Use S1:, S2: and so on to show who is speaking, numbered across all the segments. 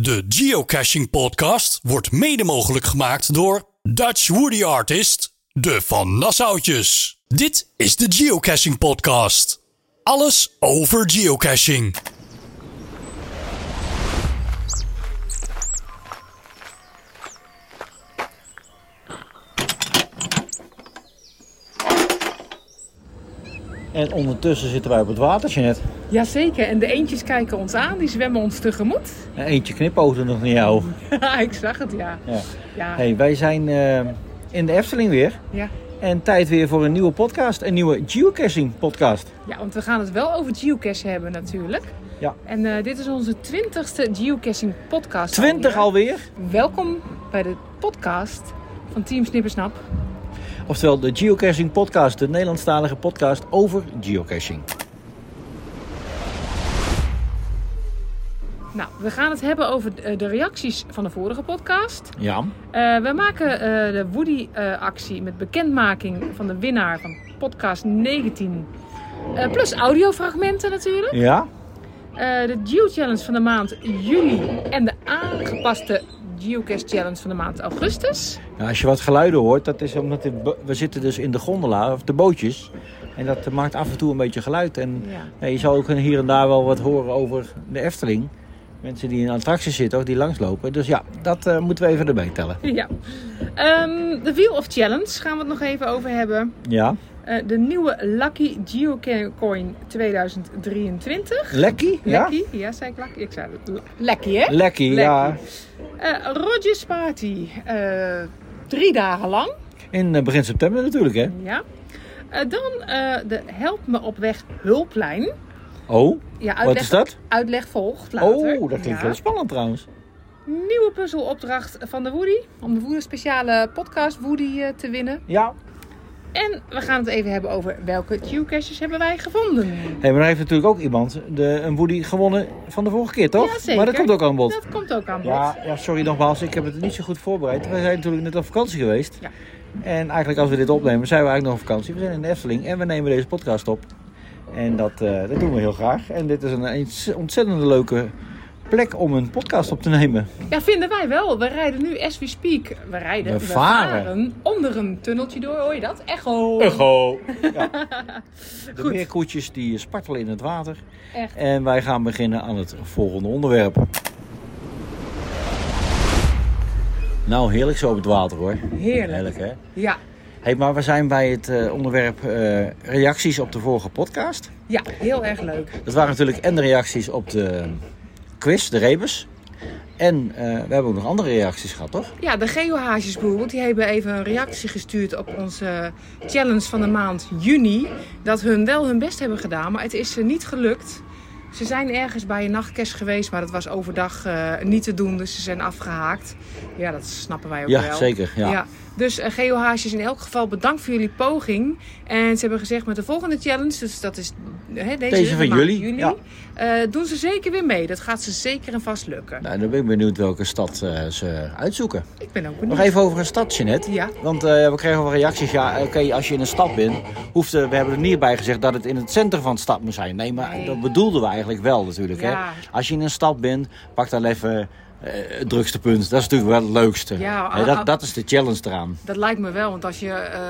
S1: De Geocaching Podcast wordt mede mogelijk gemaakt door Dutch Woody Artist, de Van Nassautjes. Dit is de Geocaching Podcast. Alles over geocaching.
S2: En ondertussen zitten wij op het watertje net.
S3: Jazeker, en de eendjes kijken ons aan, die zwemmen ons tegemoet.
S2: En eentje knipoogde nog naar jou.
S3: ik zag het, ja.
S2: Ja.
S3: Ja,
S2: Hey, wij zijn eh, in de Efteling weer.
S3: ja.
S2: En tijd weer voor een nieuwe podcast. Een nieuwe geocaching podcast.
S3: ja, want we gaan het wel over geocache hebben natuurlijk.
S2: Ja.
S3: En eh, dit is onze twintigste geocaching podcast.
S2: Twintig alweer.
S3: Welkom bij de podcast van Team Snippersnap.
S2: Oftewel de geocaching podcast. De Nederlandstalige podcast over geocaching.
S3: Nou, we gaan het hebben over eh, de reacties van de vorige podcast.
S2: Ja.
S3: Eh, we maken eh, de Woody-actie met bekendmaking van de winnaar van podcast 19. Eh, plus audiofragmenten natuurlijk.
S2: Ja.
S3: Eh, de Geo Challenge van de maand juli en de aangepaste Geocache Challenge van de maand augustus.
S2: Nou, als je wat geluiden hoort, dat is omdat de bo- we zitten dus in de gondola, of de bootjes. En dat eh, maakt af en toe een beetje geluid. En
S3: Ja.
S2: ja, je zal ook hier en daar wel wat horen over de Efteling. Mensen die in attracties zitten of die langslopen. Dus ja, dat eh, moeten we even erbij tellen.
S3: ja. Ehm, de Wheel of Challenge gaan we het nog even over hebben.
S2: Ja.
S3: Eh, de nieuwe Lucky Geocoin 2023.
S2: Lekkie? Ja?
S3: Lucky? Ja, zei ik Lucky? Ik zei Lucky, hè?
S2: Lekkie, ja.
S3: Eh Rogers Party. eh, drie dagen lang.
S2: In eh, begin september natuurlijk, hè?
S3: Ja. Eh, dan eh, de Help Me Op Weg hulplijn.
S2: Oh,
S3: Ja,
S2: wat is dat?
S3: Uitleg volgt later.
S2: Oh, dat klinkt
S3: Ja.
S2: heel spannend trouwens.
S3: Nieuwe puzzelopdracht van de Woody. Om de Woody speciale podcast Woody eh, te winnen.
S2: Ja.
S3: En we gaan het even hebben over welke geocaches hebben wij gevonden.
S2: Hé, maar dan heeft natuurlijk ook iemand de, een Woody gewonnen van de vorige keer, toch?
S3: Jazeker.
S2: Maar dat komt ook aan bod.
S3: Dat komt ook aan bod.
S2: Ja, ja, sorry nogmaals, ik heb het niet zo goed voorbereid. We zijn natuurlijk net op vakantie geweest.
S3: Ja.
S2: En eigenlijk als we dit opnemen, zijn we eigenlijk nog op vakantie. We zijn in de Efteling en we nemen deze podcast op. En dat, eh, dat doen we heel graag. En dit is een eens- ontzettend leuke plek om een podcast op te nemen.
S3: Ja, vinden wij wel. We rijden nu as we speak. We rijden,
S2: We varen.
S3: onder een tunneltje door. Hoor je dat? Echo.
S2: Go! Ja. De
S3: Goed.
S2: meerkoetjes die spartelen in het water.
S3: Echt.
S2: En wij gaan beginnen aan het volgende onderwerp. Nou, heerlijk zo op het water hoor.
S3: Heerlijk.
S2: Heerlijk hè?
S3: Ja.
S2: Hey, maar we zijn bij het eh, onderwerp eh, reacties op de vorige podcast.
S3: ja, heel erg leuk.
S2: Dat waren natuurlijk en de reacties op de quiz, de Rebus. En eh, we hebben ook nog andere reacties gehad, toch?
S3: Ja, de geohages bijvoorbeeld, die hebben even een reactie gestuurd op onze challenge van de maand juni. Dat hun wel hun best hebben gedaan, maar het is ze niet gelukt. Ze zijn ergens bij een nachtcast geweest, maar dat was overdag eh, niet te doen, dus ze zijn afgehaakt. Ja, dat snappen wij ook
S2: Ja,
S3: wel.
S2: zeker. Ja.
S3: Dus eh, geohages in elk geval bedankt voor jullie poging. En ze hebben gezegd met de volgende challenge, dus dat is hè, deze,
S2: Deze van
S3: de maand
S2: jullie,
S3: juni,
S2: ja.
S3: eh, doen ze zeker weer mee. Dat gaat ze zeker en vast lukken.
S2: Nou, dan ben ik benieuwd welke stad eh, ze uitzoeken.
S3: Ik ben ook
S2: Nog
S3: benieuwd.
S2: even over een stad, Jeanette.
S3: Ja.
S2: Want eh, we kregen wel reacties. Ja, oké, als je in een stad bent, hoeft, eh, we hebben er niet bij gezegd dat het in het centrum van de stad moet zijn. Nee, maar
S3: Nee.
S2: dat bedoelden we eigenlijk wel natuurlijk.
S3: Ja.
S2: Hè? Als je in een stad bent, pak dan even eh, het drukste punt. Dat is natuurlijk wel het leukste.
S3: Ja,
S2: Hè,
S3: a- a-
S2: dat, dat is de challenge eraan.
S3: Dat lijkt me wel, want als je eh,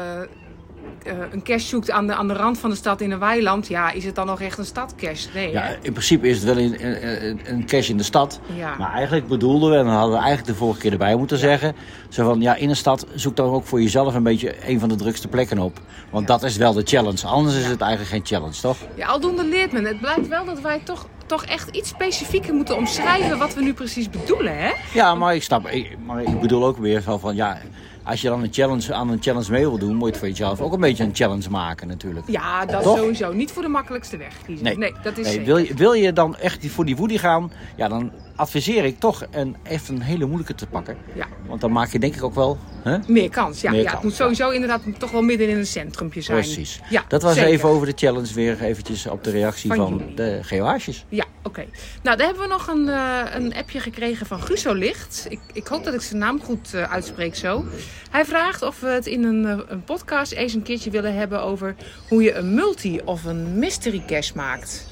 S3: eh, een cache zoekt aan de, aan de rand van de stad in een weiland, ja, is het dan nog echt een stadcache? Nee.
S2: Ja, eh,
S3: hè?
S2: in principe is het wel een, een, een- een cash in de stad.
S3: Ja.
S2: Maar eigenlijk bedoelden we, en dan hadden we eigenlijk de vorige keer erbij moeten zeggen. Zo van, ja, in een stad zoek dan ook voor jezelf een beetje een van de drukste plekken op. Want dat is wel de challenge. Anders is het eigenlijk geen challenge, toch?
S3: ja, aldoende leert men. Het blijkt wel dat wij toch, toch echt iets specifieker moeten omschrijven wat we nu precies bedoelen, hè?
S2: Ja, maar ik snap, ik, maar ik bedoel ook weer zo van, ja, als je dan een challenge, aan een challenge mee wil doen, moet je het voor jezelf ook een beetje een challenge maken natuurlijk.
S3: Ja, dat
S2: Toch?
S3: sowieso. Niet voor de makkelijkste weg kiezen. dat
S2: Nee,
S3: is zeker.
S2: wil, je, wil je dan echt die- voor die woody gaan, ja, dan adviseer ik toch een, echt een hele moeilijke te pakken.
S3: Ja.
S2: Want dan maak je denk ik ook wel, hè?
S3: Meer kans, ja.
S2: Meer
S3: ja
S2: kans,
S3: het moet
S2: ja.
S3: sowieso inderdaad toch wel midden in een centrumpje zijn.
S2: Precies.
S3: Ja,
S2: dat was
S3: zeker.
S2: even over de challenge weer eventjes op de reactie
S3: Van
S2: van,
S3: jullie.
S2: de geoages.
S3: Ja, oké. Nou, daar hebben we nog een, eh, een appje gekregen van Gusolicht. Ik, ik hoop dat ik zijn naam goed eh, uitspreek zo. Hij vraagt of we het in een, eh, een podcast eens een keertje willen hebben over hoe je een multi of een mystery cache maakt.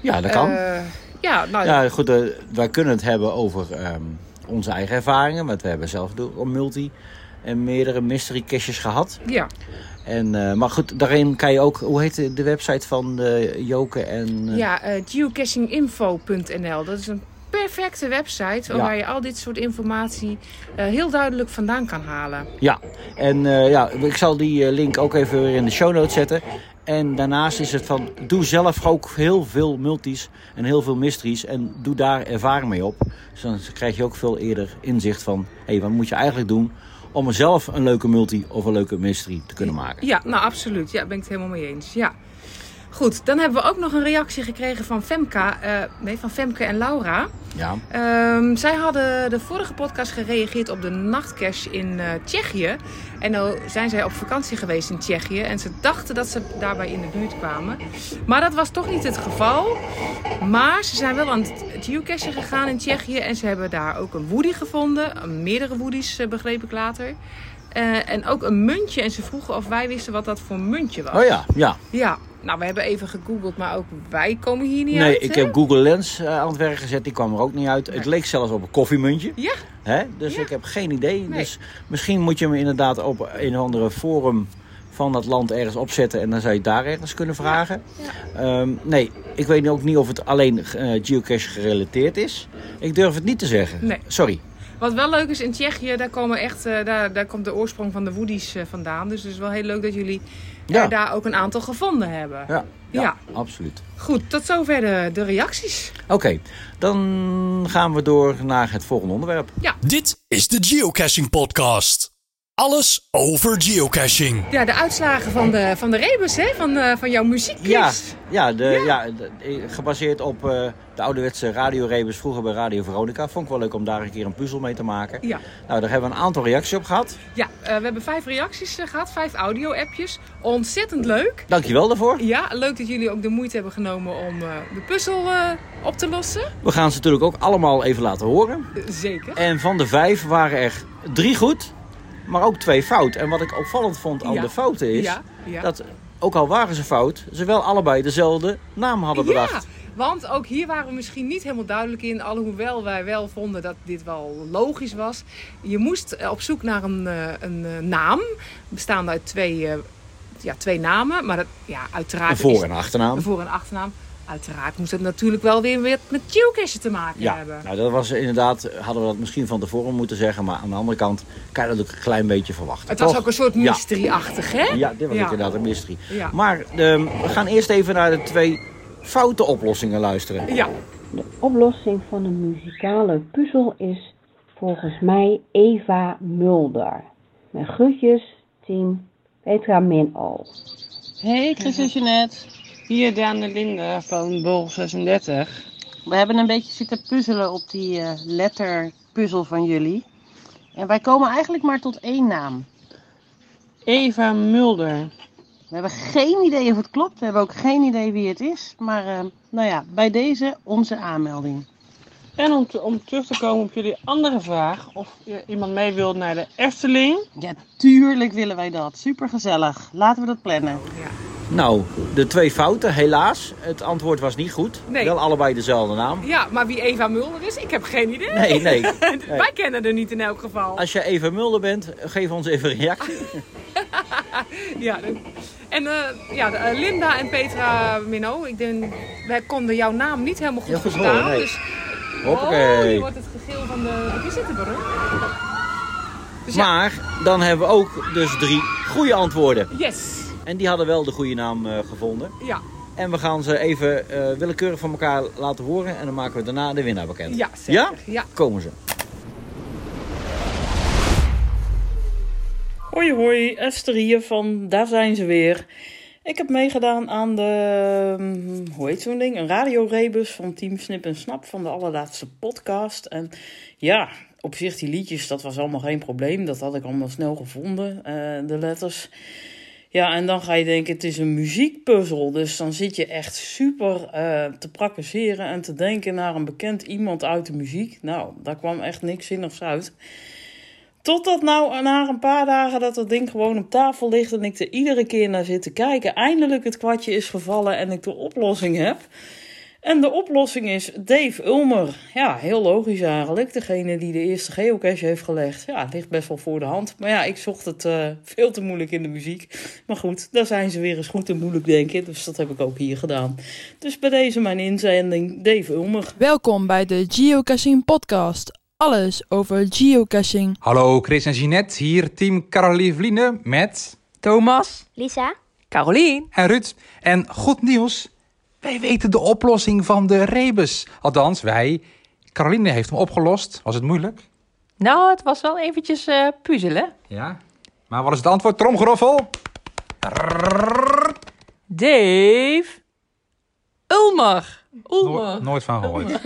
S2: Ja, dat kan.
S3: Eh, Ja, nou,
S2: Ja, goed, eh, wij kunnen het hebben over ehm, onze eigen ervaringen. Want we hebben zelf door een multi en meerdere mystery caches gehad.
S3: ja.
S2: En, eh, maar goed, daarin kan je ook, hoe heet de- de website van eh, Joke en... eh,
S3: Ja, eh, geocachinginfo.nl. Dat is een perfecte website
S2: Ja.
S3: waar je al dit soort informatie eh, heel duidelijk vandaan kan halen.
S2: Ja, en eh, ja, ik zal die eh, link ook even weer in de show notes zetten. En daarnaast is het van, doe zelf ook heel veel multis en heel veel mysteries. En doe daar ervaring mee op. Dus dan krijg je ook veel eerder inzicht van, hé, wat moet je eigenlijk doen om er zelf een leuke multi of een leuke mystery te kunnen maken.
S3: Ja, nou absoluut. Ja, ben ik het helemaal mee eens. Ja. Goed, dan hebben we ook nog een reactie gekregen van Femka, eh, nee, van Femke en Laura.
S2: Ja,
S3: Ehm, zij hadden de vorige podcast gereageerd op de nachtcash in eh, Tsjechië. En nou zijn zij op vakantie geweest in Tsjechië. En ze dachten dat ze daarbij in de buurt kwamen. Maar dat was toch niet het geval. Maar ze zijn wel aan het geocachen gegaan in Tsjechië. En ze hebben daar ook een woody gevonden. Eh, Meerdere woodies eh, begreep ik later. Eh, en ook een muntje. En ze vroegen of wij wisten wat dat voor muntje was.
S2: oh ja, ja.
S3: Ja, nou we hebben even gegoogeld. Maar ook wij komen hier niet
S2: Nee,
S3: uit.
S2: ik
S3: hè?
S2: heb Google Lens eh, aan het werk gezet, die kwam er ook niet uit. Het
S3: Nee.
S2: leek zelfs op een koffiemuntje.
S3: Ja,
S2: Hè? Dus
S3: Ja.
S2: ik heb geen idee.
S3: Nee.
S2: Dus misschien moet je hem inderdaad op een of andere forum van dat land ergens opzetten. En dan zou je het daar ergens kunnen vragen. Ehm, nee, ik weet ook niet of het alleen eh, geocache gerelateerd is. Ik durf het niet te zeggen.
S3: Nee.
S2: Sorry.
S3: Wat wel leuk is, in Tsjechië, daar, komen echt, eh, daar, daar komt de oorsprong van de woodies eh, vandaan. Dus het is wel heel leuk dat jullie eh,
S2: Ja.
S3: daar ook een aantal gevonden hebben.
S2: Ja, ja,
S3: Ja.
S2: absoluut.
S3: Goed, tot zover de, de reacties.
S2: Oké, dan gaan we door naar het volgende onderwerp.
S1: Dit is de Geocaching Podcast. Alles over geocaching.
S3: Ja, de uitslagen van de, van de rebus, hè? Van, eh, van jouw muziekquiz.
S2: Ja, ja, de, ja. de- eh, gebaseerd op eh, de ouderwetse radiorebus vroeger bij Radio Veronica. Vond ik wel leuk om daar een keer een puzzel mee te maken.
S3: Ja,
S2: Nou, daar hebben we een aantal reacties op gehad.
S3: ja eh, we hebben vijf reacties eh, gehad, vijf audio-appjes. Ontzettend leuk.
S2: Dankjewel daarvoor.
S3: Ja, leuk dat jullie ook de moeite hebben genomen om eh, de puzzel eh, op te lossen.
S2: We gaan ze natuurlijk ook allemaal even laten horen.
S3: Eh, Zeker.
S2: En van de vijf waren er drie goed, maar ook twee fout. En wat ik opvallend vond aan
S3: Ja.
S2: de fouten is
S3: ja, ja.
S2: dat, ook al waren ze fout, ze wel allebei dezelfde naam hadden
S3: Ja,
S2: bedacht.
S3: want ook hier waren we misschien niet helemaal duidelijk in. Alhoewel wij wel vonden dat dit wel logisch was. Je moest eh, op zoek naar een, eh, een eh, naam. Bestaande uit twee, eh, ja, twee namen. Maar dat, ja, uiteraard...
S2: Een voor-
S3: is-
S2: en achternaam.
S3: een voor- en achternaam. Uiteraard moest het natuurlijk wel weer met, met geocachen te maken
S2: Ja,
S3: hebben.
S2: nou dat was inderdaad, hadden we dat misschien van tevoren moeten zeggen, maar aan de andere kant kan je dat ook een klein beetje verwachten.
S3: Het was
S2: toch?
S3: ook een soort
S2: Ja.
S3: mystery-achtig, hè?
S2: Ja, dit was
S3: Ja.
S2: inderdaad een mystery.
S3: Ja.
S2: Maar ehm, we gaan eerst even naar de twee foute oplossingen luisteren.
S3: Ja,
S4: De oplossing van de muzikale puzzel is volgens mij Eva Mulder. Mijn groetjes, team Petra Minol.
S5: Hey Chris en Jeanette.
S6: Hier Daan en Linde van Bol 36.
S5: We hebben een beetje zitten puzzelen op die eh, letterpuzzel van jullie. En wij komen eigenlijk maar tot één naam.
S6: Eva Mulder.
S5: We hebben geen idee of het klopt. We hebben ook geen idee wie het is. Maar eh, nou ja, bij deze onze aanmelding.
S6: En om, te- om terug te komen op jullie andere vraag, of je iemand mee wilt naar de Efteling.
S5: Ja, tuurlijk willen wij dat. Super gezellig. Laten we dat plannen.
S2: Nou, de twee fouten, helaas. Het antwoord was niet goed.
S3: Nee.
S2: Wel allebei dezelfde naam.
S3: ja, maar wie Eva Mulder is, ik heb geen idee.
S2: Nee, nee.
S3: Wij kennen er niet in elk geval.
S2: Als je even Mulder bent, geef ons even een
S3: Oh,
S2: reactie.
S3: Ja, dat- en eh, ja, de- eh, Linda en Petra Minno, ik denk, wij konden jouw naam niet helemaal goed
S2: Heel goed
S3: verstaan.
S2: horen, nee.
S3: Dus, oh,
S2: Hoppakee.
S3: hier wordt het gegil van de, de visitebron. Dus ja,
S2: Maar dan hebben we ook dus drie goede antwoorden.
S3: yes,
S2: En die hadden wel de goede naam eh, gevonden.
S3: ja,
S2: En we gaan ze even eh, willekeurig van elkaar laten horen. En dan maken we daarna de winnaar bekend.
S3: ja, zeker. Ja?
S2: Komen ze.
S7: Hoi hoi, Esther hier van Daar zijn ze weer. Ik heb meegedaan aan de, ehm, hoe heet zo'n ding? Een radiorebus van Team Snip en Snap van de allerlaatste podcast. En ja, op zich die liedjes, dat was allemaal geen probleem. Dat had ik allemaal snel gevonden, eh, de letters. Ja, en dan ga je denken, het is een muziekpuzzel. Dus dan zit je echt super eh, te praktiseren en te denken naar een bekend iemand uit de muziek. Nou, daar kwam echt niks zinnigs uit. Totdat nou na een paar dagen dat dat ding gewoon op tafel ligt en ik er iedere keer naar zit te kijken. Eindelijk het kwartje is gevallen en ik de oplossing heb. En de oplossing is Dave Ulmer. Ja, heel logisch eigenlijk. Degene die de eerste geocache heeft gelegd. Ja, het ligt best wel voor de hand. Maar ja, ik zocht het eh, veel te moeilijk in de muziek. Maar goed, daar zijn ze weer eens goed en moeilijk, denk ik. Dus dat heb ik ook hier gedaan. Dus bij deze mijn inzending, Dave Ulmer.
S8: Welkom bij de Geocaching Podcast. Alles over geocaching.
S9: Hallo Chris en Jeanette, hier team Caroline Vliene met
S10: Thomas,
S11: Lisa?
S10: Carolien.
S9: en Ruud. En goed nieuws, wij weten de oplossing van de rebus. Althans, wij. Caroline heeft hem opgelost. Was het moeilijk?
S10: Nou, het was wel eventjes eh, puzzelen.
S9: Ja. Maar wat is het antwoord? Tromgeroffel?
S10: Dave Ulmer.
S9: Noor-
S10: Ulmer.
S9: nooit van gehoord.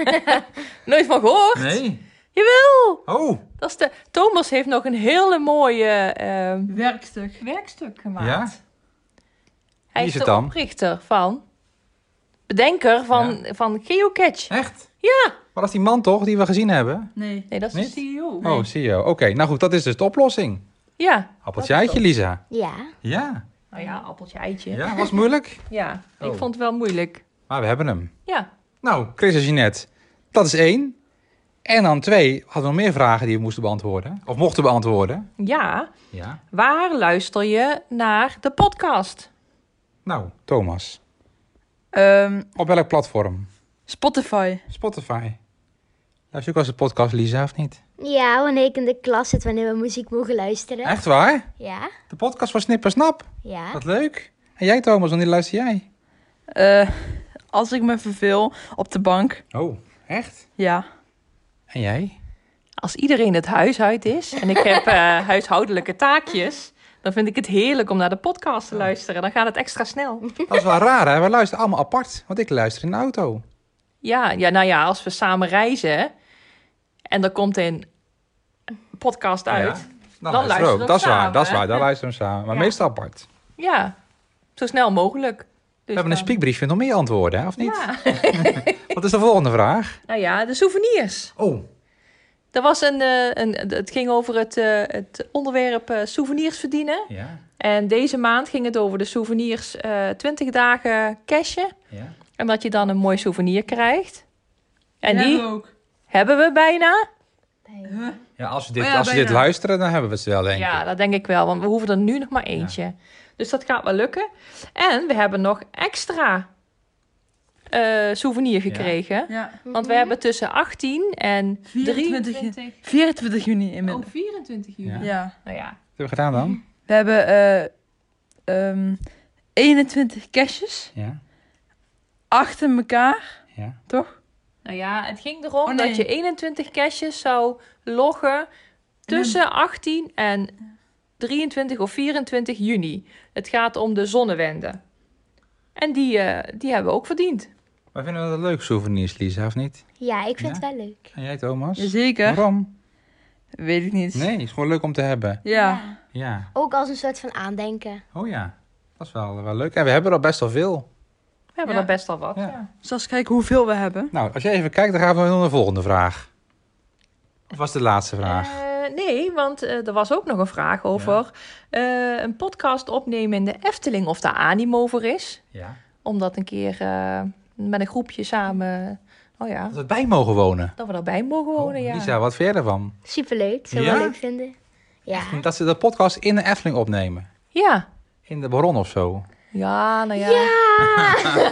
S10: Nooit van gehoord?
S9: Nee?
S10: Jawel.
S9: Oh,
S10: Dat is de... Thomas heeft nog een hele mooie... ehm, werkstuk. Werkstuk gemaakt.
S9: Ja?
S10: Hij
S9: is
S10: is,
S9: het
S10: de
S9: dan?
S10: oprichter van... Bedenker van, van Geocache.
S9: echt?
S10: Ja.
S9: Maar dat is die man toch, die we gezien hebben?
S10: Nee. Nee, dat is
S9: Niet?
S10: de E CEO.
S9: Oh, zie je. Oké, nou goed, dat is dus de oplossing.
S10: Ja.
S9: Appeltje eitje, Lisa.
S11: Ja.
S9: Ja.
S10: Nou ja, appeltje, eitje.
S9: Ja, was moeilijk?
S10: Ja, ik
S9: Oh.
S10: vond het wel moeilijk.
S9: Maar we hebben hem.
S10: Ja.
S9: Nou, Chris en Jeanette, dat is één. En dan twee, hadden we nog meer vragen die we moesten beantwoorden. Of mochten beantwoorden.
S10: Ja,
S9: Ja.
S10: waar luister je naar de podcast?
S9: Nou, Thomas,
S10: Ehm,
S9: op welk platform?
S10: Spotify.
S9: Spotify. Luister je ook als een podcast, Lisa, of niet?
S11: Ja, wanneer ik in de klas zit, wanneer we muziek mogen luisteren.
S9: Echt waar?
S11: Ja,
S9: De podcast van Snipper Snap.
S11: ja.
S9: Wat leuk. En jij, Thomas, wanneer luister jij?
S12: Eh, als ik me verveel op de bank,
S9: Oh, echt?
S12: ja.
S9: En jij?
S10: Als iedereen het huis uit is en ik heb eh, huishoudelijke taakjes, dan vind ik het heerlijk om naar de podcast te luisteren. Dan gaat het extra snel.
S9: Dat is wel raar, hè? We luisteren allemaal apart, want ik luister in de auto.
S10: Ja, ja nou ja, als we samen reizen en er komt een podcast uit.
S9: Ja.
S10: Ja,
S9: Dan,
S10: luisteren we ook
S9: Dat is waar,
S10: samen,
S9: dat is
S10: hè?
S9: waar. Dan luisteren we samen. Maar
S10: Ja.
S9: meestal apart. We
S10: zo snel mogelijk. Dus
S9: hebben een
S10: dan-
S9: spiekbrief met nog meer antwoorden, hè? Of niet?
S10: Ja.
S9: Wat is de volgende vraag?
S10: Nou ja, de souvenirs.
S9: Oh,
S10: Er was een, eh, een, het ging over het, eh, het onderwerp eh, souvenirs verdienen.
S9: ja.
S10: En deze maand ging het over de souvenirs eh 20 dagen cashen.
S9: Ja.
S10: En dat je dan een mooi souvenir krijgt. En die hebben we bijna.
S9: Ja, als we dit,
S10: Oh ja,
S9: als we
S10: bijna.
S9: dit luisteren, dan hebben we het wel, denk ik.
S10: Ja, dat denk ik wel, want we hoeven er nu nog maar eentje. Dus dat gaat wel lukken. En we hebben nog extra eh, souvenir gekregen.
S12: Ja.
S10: Want we hebben tussen 18 en
S12: 24
S10: 23...
S12: 24 juni inmiddels.
S3: Oh,
S10: 24 juni.
S9: Ja.
S12: Ja.
S10: Nou ja,
S9: Wat hebben we gedaan dan?
S12: We hebben eh, ehm, 21 caches
S9: Ja.
S12: achter elkaar,
S9: Ja.
S12: toch?
S10: Nou ja, het ging erom
S12: Oh, nee.
S10: dat je 21 caches zou loggen tussen 18 en 23 of 24 juni. Het gaat om de zonnewende. En die, eh, die hebben we ook verdiend.
S9: Wij vinden dat een leuk souvenirs, Lisa, of niet?
S11: Ja, ik vind
S9: Ja?
S11: het wel leuk.
S9: En jij, Thomas?
S12: Jazeker.
S9: Waarom?
S12: Weet ik niet.
S9: Nee, is gewoon leuk om te hebben.
S12: Ja.
S9: Ja.
S11: Ook als een soort van aandenken.
S9: Oh ja. Dat is wel, wel leuk. En we hebben er best wel veel.
S10: We hebben
S12: Ja.
S10: er best al wat.
S9: Ja.
S12: Dus als ik kijk hoeveel we hebben.
S9: Nou, als jij even kijkt, dan gaan we naar de volgende vraag. Of was de laatste vraag?
S10: Eh, nee, want eh, er was ook nog een vraag over eh, een podcast opnemen in de Efteling of daar animo voor is.
S9: Ja.
S10: Om dat een keer eh, met een groepje samen, oh ja,
S9: Dat we bij mogen wonen.
S10: dat we erbij mogen wonen.
S9: Oh,
S10: ja.
S9: Lisa, wat vind jij daarvan?
S11: Superleuk, zou
S9: Ja?
S11: wel leuk vinden. Ja.
S9: Dat ze de podcast in de Efteling opnemen.
S10: ja,
S9: In de Baron of zo.
S10: Ja, nou ja.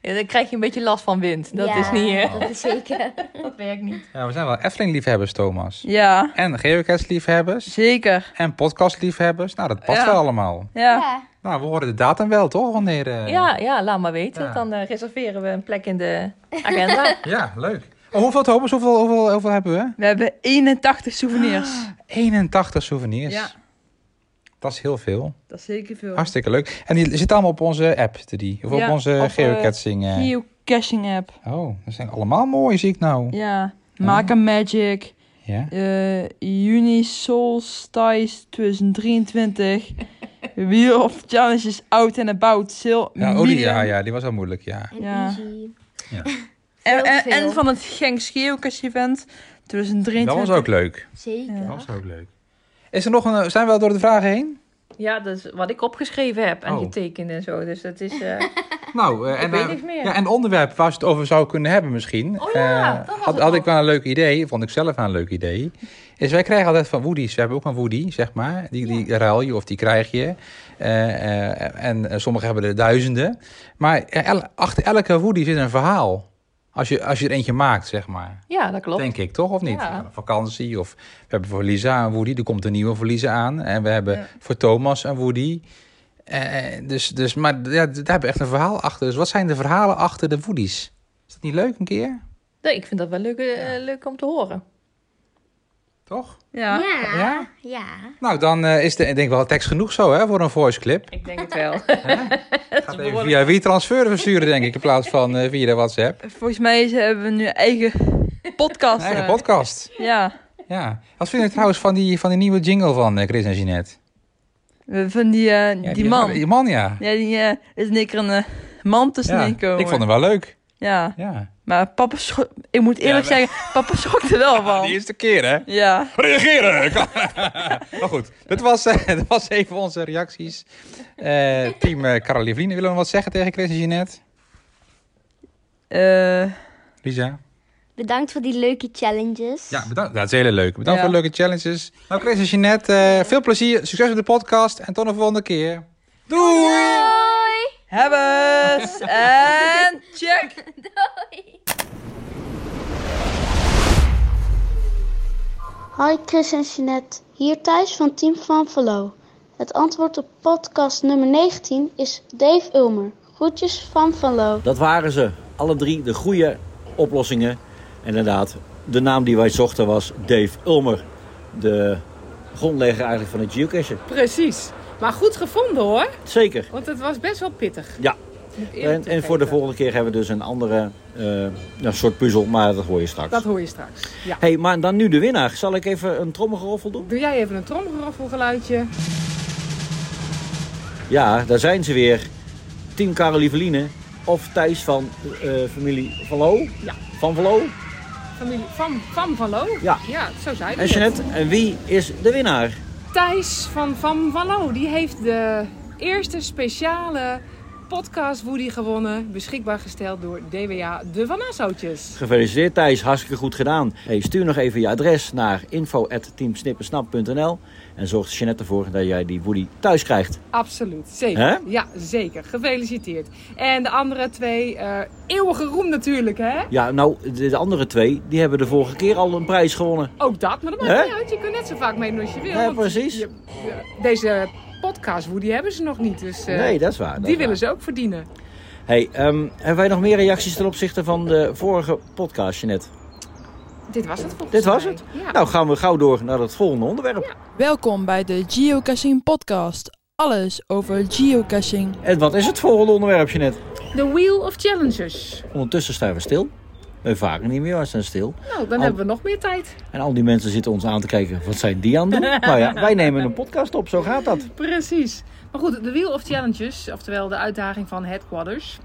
S10: Ja, Dan krijg je een beetje last van wind. Dat
S11: Ja,
S10: is niet...
S9: Oh.
S10: eh,
S11: Dat is zeker.
S10: Dat werkt niet.
S9: Ja, we zijn wel Efteling-liefhebbers, Thomas.
S12: Ja,
S9: En geocache-liefhebbers.
S12: zeker.
S9: En podcastliefhebbers. Nou, dat past
S12: Ja.
S9: wel allemaal.
S12: Ja.
S11: Ja.
S9: Nou, we horen de datum wel, toch? Wanneer, eh,
S10: Ja, ja, laat maar weten.
S9: ja.
S10: Dan eh, reserveren we een plek in de agenda.
S9: Ja, leuk. Oh, hoeveel Thomas, hoeveel, hoeveel, hoeveel hebben we?
S12: We hebben 81 souvenirs.
S9: 81 souvenirs.
S12: Ja.
S9: Dat is heel veel.
S12: Dat is zeker veel.
S9: Hartstikke leuk. En die zit allemaal op onze app, zitten die. Of op
S12: Ja,
S9: onze
S12: op, eh,
S9: geocaching. eh.
S12: Geocaching app.
S9: Oh, dat zijn allemaal mooi, zie ik nou.
S12: Ja. Maak een Magic.
S9: Ja.
S12: eh juni Solstice 2023. Wheel of Challenges Out and About. Sale
S9: Ja, oh, die,
S12: medium.
S9: ja, ja, die was al moeilijk, ja.
S11: En
S12: Ja.
S11: easy.
S12: En, en,
S11: veel.
S12: en van het Genks Geocache Event
S9: Dat
S12: 2023.
S9: was ook leuk.
S11: Zeker.
S12: Ja.
S9: Dat was ook leuk. Is er nog een, zijn we al door de vragen heen?
S10: ja, dat is wat ik opgeschreven heb en
S9: Oh.
S10: getekend en zo. Dus dat is... eh,
S9: Nou, eh, en,
S10: weet
S9: eh,
S10: niks meer.
S9: Ja, en onderwerp waar ze het over zou kunnen hebben misschien.
S10: Oh ja,
S9: Eh,
S10: dat was
S9: had,
S10: het
S9: had
S10: nog.
S9: ik wel een leuk idee, vond ik zelf wel een leuk idee. Is wij krijgen altijd van Woody's. We hebben ook een Woody, zeg maar. Die, die ruil je of die krijg je. Eh, eh, en eh, sommigen hebben er duizenden. Maar eh, el- achter elke Woody zit een verhaal. Als je, als je er eentje maakt, zeg maar.
S10: Ja, dat klopt.
S9: Denk ik, toch? Of niet?
S10: Ja.
S9: Ja, vakantie. Of we hebben voor Lisa een Woody. Er komt een nieuwe voor Lisa aan. En we hebben voor Thomas een Woody. Eh, eh, dus, dus, maar ja, daar hebben we echt een verhaal achter. Dus wat zijn de verhalen achter de Woody's? Is dat niet leuk een keer?
S10: Nee, ik vind dat wel leuk, eh, leuk om te horen.
S9: Toch?
S11: Ja. Ja.
S9: Ja?
S11: ja.
S9: Nou, dan eh, is de, ik denk wel tekst genoeg zo hè, voor een voice clip.
S10: Ik denk het wel.
S9: Gaat even via WeTransfer versturen, denk ik, in plaats van eh, via de WhatsApp.
S12: Volgens mij is- hebben we nu eigen podcast.
S9: Eigen
S12: eh.
S9: podcast.
S12: Ja,
S9: Ja. Wat vind je trouwens van die, van die nieuwe jingle van eh, Chris en Jeanette?
S12: we- van die, eh, die,
S9: Ja,
S12: man.
S9: Die man, ja.
S12: Ja, die eh, is in één keer een eh, man tussenin
S9: Ja,
S12: komen.
S9: Ik vond hem wel leuk.
S12: Ja.
S9: Ja.
S12: Maar papa schrok... Ik moet eerlijk
S9: maar-
S12: zeggen, papa schrok er wel
S9: De
S12: van.
S9: eerste keer, hè?
S12: Ja.
S9: Reageren! maar goed, dat was, eh, dat was even onze reacties. Eh, team eh Caroline Vlien, willen we wat zeggen tegen Chris en Jeanette?
S12: Eh,
S9: Lisa?
S11: Bedankt voor die leuke challenges.
S9: Ja, bedankt. Dat is heel leuk. Bedankt
S11: Ja.
S9: voor de leuke challenges. Nou, Chris en Jeanette, eh, veel plezier. Succes met de podcast. En tot een volgende keer. Doei!
S12: Hebbes en check!
S13: Hi Chris en Jeanette, hier Thijs van Team Van Velo. Het antwoord op podcast nummer 19 is Dave Ulmer. Groetjes van Van Lo.
S2: Dat waren ze. Alle drie de goede oplossingen. En inderdaad, de naam die wij zochten was Dave Ulmer. De grondlegger eigenlijk van het geocachen.
S3: Precies. Maar goed gevonden hoor.
S2: Zeker,
S3: Want het was best wel pittig.
S2: ja.
S3: moet ik eerlijk
S2: En, en voor de volgende keer hebben we dus een andere eh, nou, soort puzzel, maar dat hoor je straks.
S3: Dat hoor je straks. Ja.
S2: hey, maar dan nu de winnaar. Zal ik even een trommelgeroffel doen?
S3: Doe jij even een trommelgeroffelgeluidje.
S2: Ja, daar zijn ze weer. Team Carolieveline of Thijs van eh, familie Van Loo.
S3: Ja.
S2: Van Van Loo.
S3: Familie van Van van Lo.
S2: Ja.
S3: ja, zo zei hij.
S2: En Jeanette, en wie is de winnaar?
S3: Thijs van Van Wallo, die heeft de eerste speciale podcast Woody gewonnen. Beschikbaar gesteld door DWA De Van Assootjes.
S2: Gefeliciteerd Thijs, hartstikke goed gedaan. Hey, stuur nog even je adres naar info.teamsnippensnap.nl en zorgt Jeanette ervoor dat jij die Woody thuis krijgt.
S3: Absoluut, zeker.
S2: Hè?
S3: Ja, zeker. Gefeliciteerd. En de andere twee, eh eeuwige roem natuurlijk, hè?
S2: Ja, nou, de de andere twee, die hebben de vorige keer al een prijs gewonnen.
S3: Ook dat, maar dat
S2: Hè?
S3: maakt niet uit. Je kunt net zo vaak meedoen als je wil.
S2: Ja,
S3: want
S2: precies.
S3: je- je- deze podcast Woody hebben ze nog niet. Dus, eh,
S2: Nee, dat is waar, dat
S3: die
S2: is
S3: willen ze ook verdienen.
S2: Hey, ehm, hebben wij nog meer reacties ten opzichte van de vorige podcast, Jeanette?
S3: Dit was het volgens
S2: Dit was het?
S3: Ja.
S2: Nou, gaan we gauw door naar het volgende onderwerp.
S8: Welkom bij de Geocaching Podcast. Alles over geocaching.
S2: En wat is het volgende onderwerp, Jeanette?
S3: The Wheel of Challenges.
S2: Ondertussen staan we stil. We varen niet meer, we staan stil.
S3: Nou, dan
S2: Al-
S3: hebben we nog meer tijd.
S2: En al die mensen zitten ons aan te kijken, wat zijn die aan het doen? nou ja, wij nemen een podcast op, zo gaat dat.
S3: Precies. Maar goed, de Wheel of Challenges, oftewel de uitdaging van Headquarters.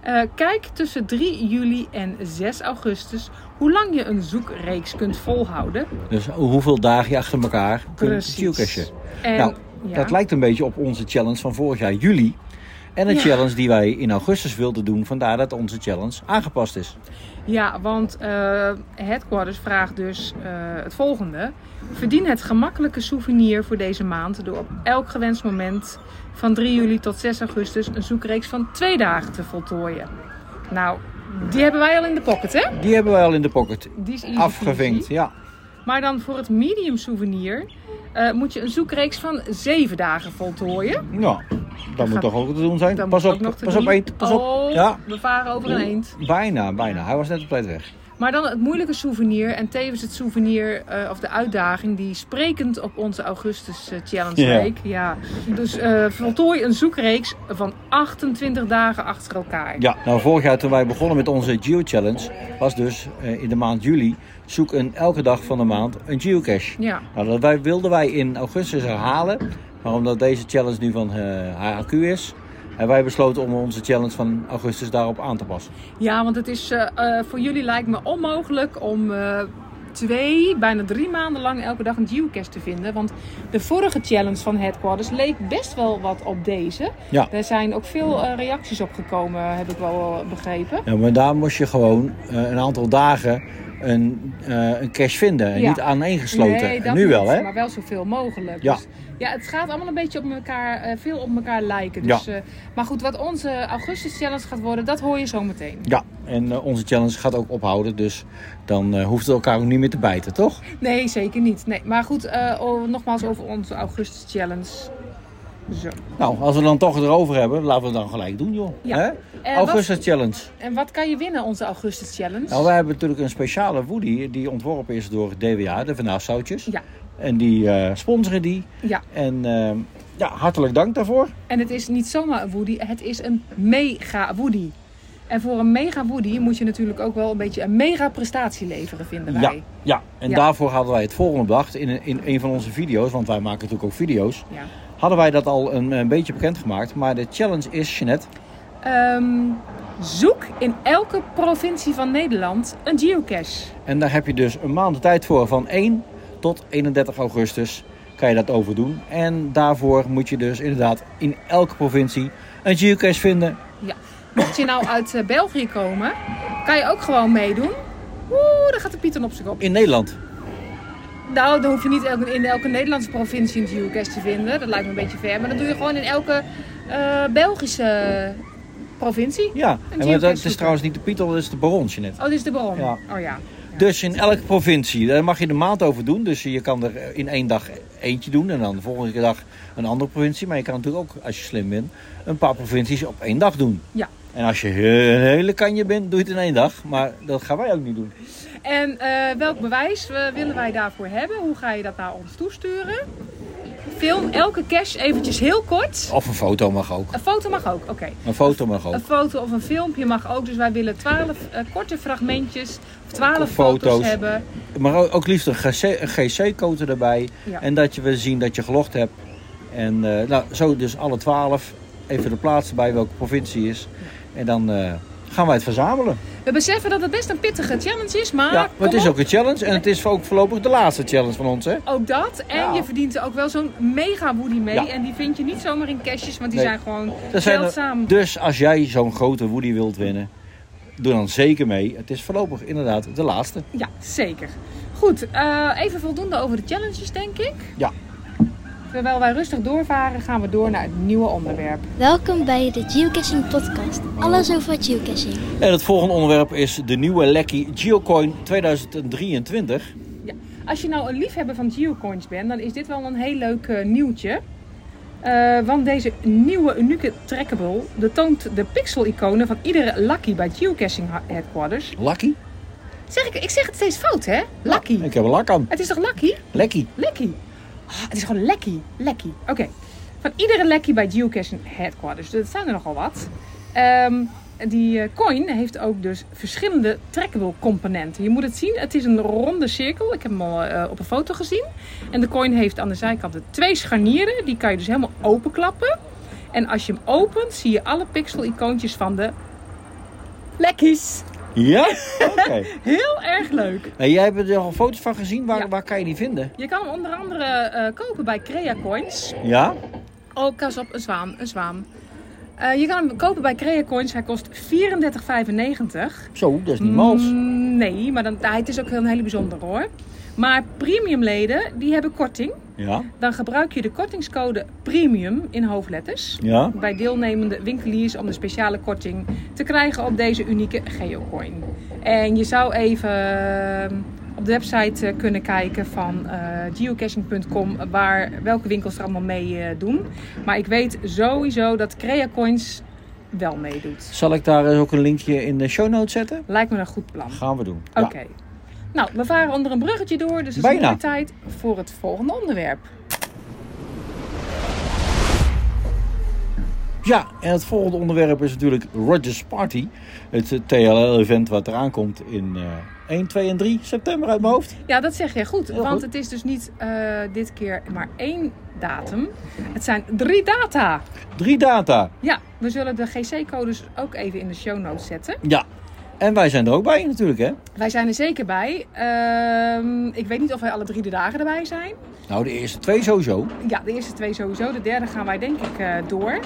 S3: Eh, kijk tussen 3 juli en 6 augustus hoe lang je een zoekreeks kunt volhouden.
S2: Dus hoeveel dagen je achter elkaar kunt
S3: Precies.
S2: geocachen.
S3: En-
S2: Nou,
S3: ja.
S2: dat lijkt een beetje op onze challenge van vorig jaar juli. En een
S3: Ja.
S2: challenge die wij in augustus wilden doen, vandaar dat onze challenge aangepast is.
S3: Ja, want eh, Headquarters vraagt dus eh, het volgende. Verdien het gemakkelijke souvenir voor deze maand door op elk gewenst moment van 3 juli tot 6 augustus een zoekreeks van twee dagen te voltooien. Nou, die hebben wij al in de pocket, hè?
S2: Die hebben wij al in de pocket.
S3: Die is easy
S2: Afgevinkt,
S3: peasy.
S2: ja.
S3: Maar dan voor het medium souvenir eh, moet je een zoekreeks van zeven dagen voltooien.
S2: Nou, dat moet
S3: gaat-
S2: toch ook te doen zijn.
S3: Dan
S2: Pas
S3: moet
S2: op,
S3: ook nog te
S2: pas op,
S3: doen.
S2: eend, pas op.
S3: Oh,
S2: Ja,
S3: we varen over een eend.
S2: bijna, bijna. Hij was net op tijd weg.
S3: Maar dan het moeilijke souvenir en tevens het souvenir eh, of de uitdaging die sprekend op onze Augustus eh, Challenge
S14: Ja.
S3: week. Ja. Dus eh, voltooi een zoekreeks van 28 dagen achter elkaar.
S2: Ja, nou vorig jaar toen wij begonnen met onze Geo Challenge, was dus eh, in de maand juli zoek een, elke dag van de maand een geocache.
S3: Ja.
S2: Nou, dat wij, wilden wij in augustus herhalen, maar omdat deze challenge nu van eh HRQ is, hebben wij besloten om onze challenge van augustus daarop aan te passen.
S3: Ja, want het is eh, eh, voor jullie lijkt me onmogelijk om eh, twee, bijna drie maanden lang elke dag een geocache te vinden. Want de vorige challenge van Headquarters leek best wel wat op deze.
S2: Ja.
S3: Er zijn ook veel eh, reacties op gekomen, heb ik wel eh, begrepen.
S2: Ja, maar daar moest je gewoon eh, een aantal dagen een, eh een cache vinden. En
S3: Ja.
S2: niet aaneengesloten.
S3: Nee,
S2: En
S3: dat
S2: nu
S3: niet,
S2: wel, hè?
S3: Maar wel zoveel mogelijk.
S2: Ja.
S3: Dus, ja, het gaat allemaal een beetje op elkaar, eh, veel op elkaar lijken. Dus,
S2: Ja.
S3: eh, maar goed, wat onze augustus challenge gaat worden, dat hoor je zo meteen.
S2: Ja, en eh, onze challenge gaat ook ophouden. Dus dan eh, hoeft het elkaar ook niet meer te bijten, toch?
S3: Nee, zeker niet. Nee, maar goed, eh, oh, nogmaals over onze augustus challenge. Zo.
S2: Nou, als we dan toch erover hebben, laten we het dan gelijk doen, joh.
S3: Ja.
S2: Hè?
S3: Eh,
S2: Augustus
S3: wat-
S2: Challenge.
S3: En wat kan je winnen, onze augustus challenge?
S2: Nou, wij hebben natuurlijk een speciale woody die ontworpen is door DWA, de Van Nassauwtjes.
S3: Ja.
S2: En die eh, sponsoren die.
S3: Ja,
S2: En ehm, ja, hartelijk dank daarvoor.
S3: en het is niet zomaar een woody, het is een mega woody. En voor een mega woody moet je natuurlijk ook wel een beetje een mega prestatie leveren, vinden wij.
S2: Ja, ja. en
S3: Ja.
S2: daarvoor hadden wij het volgende bedacht in, een- in een van onze video's, want wij maken natuurlijk ook video's.
S3: Ja.
S2: Hadden wij dat al een, een beetje bekendgemaakt, maar de challenge is, Jeanette,
S3: Ehm, zoek in elke provincie van Nederland een geocache.
S2: en daar heb je dus een maand de tijd voor, van 1 tot 31 augustus kan je dat overdoen. En daarvoor moet je dus inderdaad in elke provincie een geocache vinden.
S3: Ja. Mocht je nou uit eh, België komen, kan je ook gewoon meedoen. Oeh, daar gaat de Python op zijn kop.
S2: In Nederland.
S3: Nou, dan hoef je niet elke- in elke Nederlandse provincie een geocache te vinden. Dat lijkt me een beetje ver. Maar dat doe je gewoon in elke eh, Belgische provincie.
S2: Ja,
S3: Een
S2: en dat
S3: geocache
S2: is trouwens niet de Pietel, dat is de Baron, Jeanette.
S3: Oh, dit is de bron.
S2: Ja.
S3: Oh ja.
S2: Dus in elke provincie, daar mag je de maand over doen. Dus je kan er in één dag eentje doen en dan de volgende dag een andere provincie. Maar je kan natuurlijk ook, als je slim bent, een paar provincies op één dag doen.
S3: Ja.
S2: En als je een hele kanje bent, doe je het in één dag. Maar dat gaan wij ook niet doen.
S3: En eh, welk bewijs eh, willen wij daarvoor hebben? Hoe ga je dat naar ons toesturen? Film elke cache eventjes heel kort.
S2: Of een foto mag ook.
S3: Een foto mag ook, oké.
S2: Een foto mag ook.
S3: Een foto of een filmpje mag ook. Dus wij willen twaalf korte fragmentjes of twaalf
S2: Foto's.
S3: foto's. hebben.
S2: Maar ook ook liefst een GC-code erbij.
S3: Ja.
S2: En dat je wil zien dat je gelogd hebt. En eh, nou, zo dus alle twaalf. Even de plaats bij welke provincie is. En dan eh, gaan wij het verzamelen.
S3: We beseffen dat het best een pittige challenge is, maar,
S2: ja, maar het
S3: Ah, kom
S2: is
S3: op,
S2: ook een challenge. En het is ook voorlopig de laatste challenge van ons, hè?
S3: ook dat. En je verdient er ook wel zo'n mega woody mee.
S2: Ja.
S3: En die vind je niet zomaar in cashjes, want die
S2: Nee.
S3: zijn gewoon
S2: Dat zijn er-
S3: zeldzaam.
S2: dus als jij zo'n grote Woody wilt winnen, doe dan zeker mee. Het is voorlopig inderdaad de laatste.
S3: Ja, zeker. Goed, eh, even voldoende over de challenges, denk ik.
S2: Ja.
S3: Terwijl wij rustig doorvaren, gaan we door naar het nieuwe onderwerp.
S11: Welkom bij de Geocaching Podcast. Alles over geocaching.
S2: En het volgende onderwerp is de nieuwe Lekkie Geocoin 2023.
S3: Ja. Als je nou een liefhebber van geocoins bent, dan is dit wel een heel leuk eh, nieuwtje. Eh, want deze nieuwe unieke trackable de toont de pixel-iconen van iedere Lucky bij Geocaching ha- Headquarters.
S2: Lucky?
S3: Zeg ik, ik zeg het steeds fout, hè? Lucky.
S2: Ik heb een lak aan.
S3: Het is toch Lucky?
S2: Lekkie.
S3: Lekkie. Ah, het is gewoon lekkie. Lekkie. Oké. Van iedere lekkie bij Geocaching Headquarters. Dus dat zijn er nogal wat. Ehm, die eh, coin heeft ook dus verschillende trackable componenten. Je moet het zien. Het is een ronde cirkel. Ik heb hem al eh, op een foto gezien. En de coin heeft aan de zijkanten twee scharnieren. Die kan je dus helemaal openklappen. En als je hem opent, zie je alle pixel-icoontjes van de lekkies.
S2: Ja? Oké.
S3: Heel erg leuk.
S2: En jij hebt er al foto's van gezien. Waar, waar kan je die vinden?
S3: Je kan hem onder andere eh, kopen bij CreaCoins.
S2: Ja?
S3: Oh, pas op, een zwaan, een zwaan. Eh, je kan hem kopen bij CreaCoins. Hij kost 34,95.
S2: Zo, dat is niet mals.
S3: Mm, nee, maar dan, het is ook een hele bijzonder hoor. Maar premiumleden, die hebben korting.
S2: Ja?
S3: Dan gebruik je de kortingscode PREMIUM in hoofdletters.
S2: Ja.
S3: Bij deelnemende winkeliers om de speciale korting te krijgen op deze unieke geocoin. En je zou even op de website eh, kunnen kijken van eh, geocaching.com waar welke winkels er allemaal mee eh, doen. Maar ik weet sowieso dat CreaCoins wel meedoet.
S2: Zal ik daar eens ook een linkje in de show notes zetten?
S3: Lijkt me een goed plan.
S2: Gaan we doen.
S3: Oké. Nou, we varen onder een bruggetje door, dus het is
S2: Bijna.
S3: mooie tijd voor het volgende onderwerp.
S2: Ja, en het volgende onderwerp is natuurlijk Rogers Party. Het eh, TLL-event wat eraan komt in eh, 1, 2 en 3 september uit mijn hoofd.
S3: Ja, dat zeg je goed. want
S2: goed.
S3: het is dus niet eh, dit keer maar één datum. Het zijn drie data.
S2: Drie data.
S3: Ja, we zullen de GC-codes ook even in de show notes zetten.
S2: Ja. En wij zijn er ook bij natuurlijk, hè?
S3: Wij zijn er zeker bij. Ehm, ik weet niet of wij alle drie de dagen erbij zijn.
S2: Nou, de eerste twee sowieso.
S3: Ja, de eerste twee sowieso. De derde gaan wij denk ik eh, door.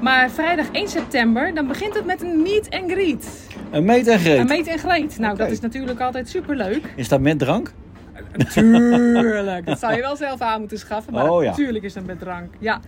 S3: Maar vrijdag 1 september, dan begint het met een meet and greet.
S2: Een meet en greet.
S3: Een meet en greet. Nou, dat is natuurlijk altijd superleuk.
S2: Is dat met drank?
S3: Natuurlijk. Dat zou je wel zelf aan moeten schaffen, maar
S2: Oh, ja.
S3: natuurlijk is dat met drank. Ja.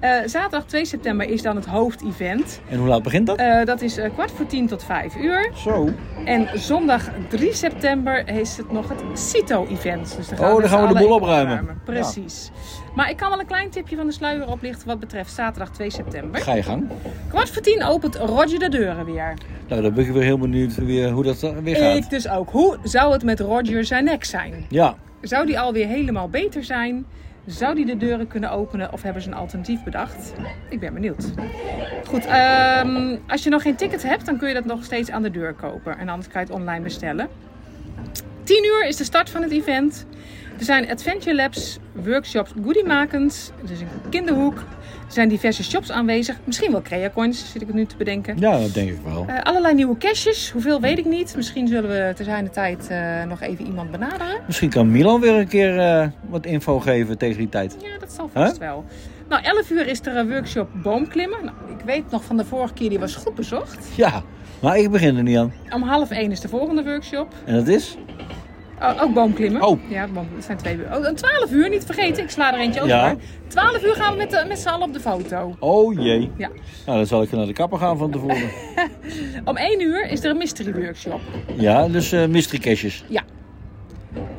S3: Eh, zaterdag 2 september is dan het hoofdevent.
S2: En hoe laat begint dat?
S3: Eh, dat is eh, kwart voor tien tot vijf uur.
S2: Zo.
S3: En zondag 3 september is het nog het CITO-event. Dus
S2: Oh, dan
S3: met
S2: gaan we
S3: z'n
S2: de
S3: allen
S2: boel
S3: even
S2: opruimen.
S3: Precies. Maar ik kan wel een klein tipje van de sluier oplichten wat betreft zaterdag 2 september.
S2: Ga je gang.
S3: Kwart voor tien opent Roger de deuren weer.
S2: Nou, dan ben ik weer heel benieuwd weer hoe dat eh, weer gaat.
S3: Ik dus ook. Hoe zou het met Roger zijn nek zijn?
S2: Ja,
S3: Zou die alweer helemaal beter zijn? Zou die de deuren kunnen openen of hebben ze een alternatief bedacht? Ik ben benieuwd. Goed, ehm, als je nog geen ticket hebt, dan kun je dat nog steeds aan de deur kopen. En anders kan je het online bestellen. 10 uur is de start van het event. Er zijn Adventure Labs, workshops goodiemakens. Er is een kinderhoek. Er zijn diverse shops aanwezig. Misschien wel CreaCoins, zit ik het nu te bedenken.
S2: ja dat denk ik wel.
S3: Eh, allerlei nieuwe caches. Hoeveel weet ik niet. Misschien zullen we ter zijne tijd eh, nog even iemand benaderen.
S2: Misschien kan Milan weer een keer eh, wat info geven tegen die tijd.
S3: Ja, dat zal vast
S2: Hè?
S3: wel. Nou, 11 uur is er een workshop boomklimmen. Nou, ik weet nog van de vorige keer, die was goed bezocht.
S2: Ja, maar ik begin er niet aan.
S3: Om half 1 is de volgende workshop.
S2: En dat is?
S3: Oh, ook boomklimmen.
S2: Oh.
S3: Ja, boom, het zijn twee uur. Oh, en 12 uur, niet vergeten. Ik sla er eentje over.
S2: Ja.
S3: 12 uur gaan we met, de- met z'n allen op de foto.
S2: Oh jee.
S3: Ja.
S2: Nou, dan zal ik naar de kapper gaan van tevoren.
S3: Om 1 uur is er een mystery workshop.
S2: ja, dus eh mystery caches.
S3: Ja.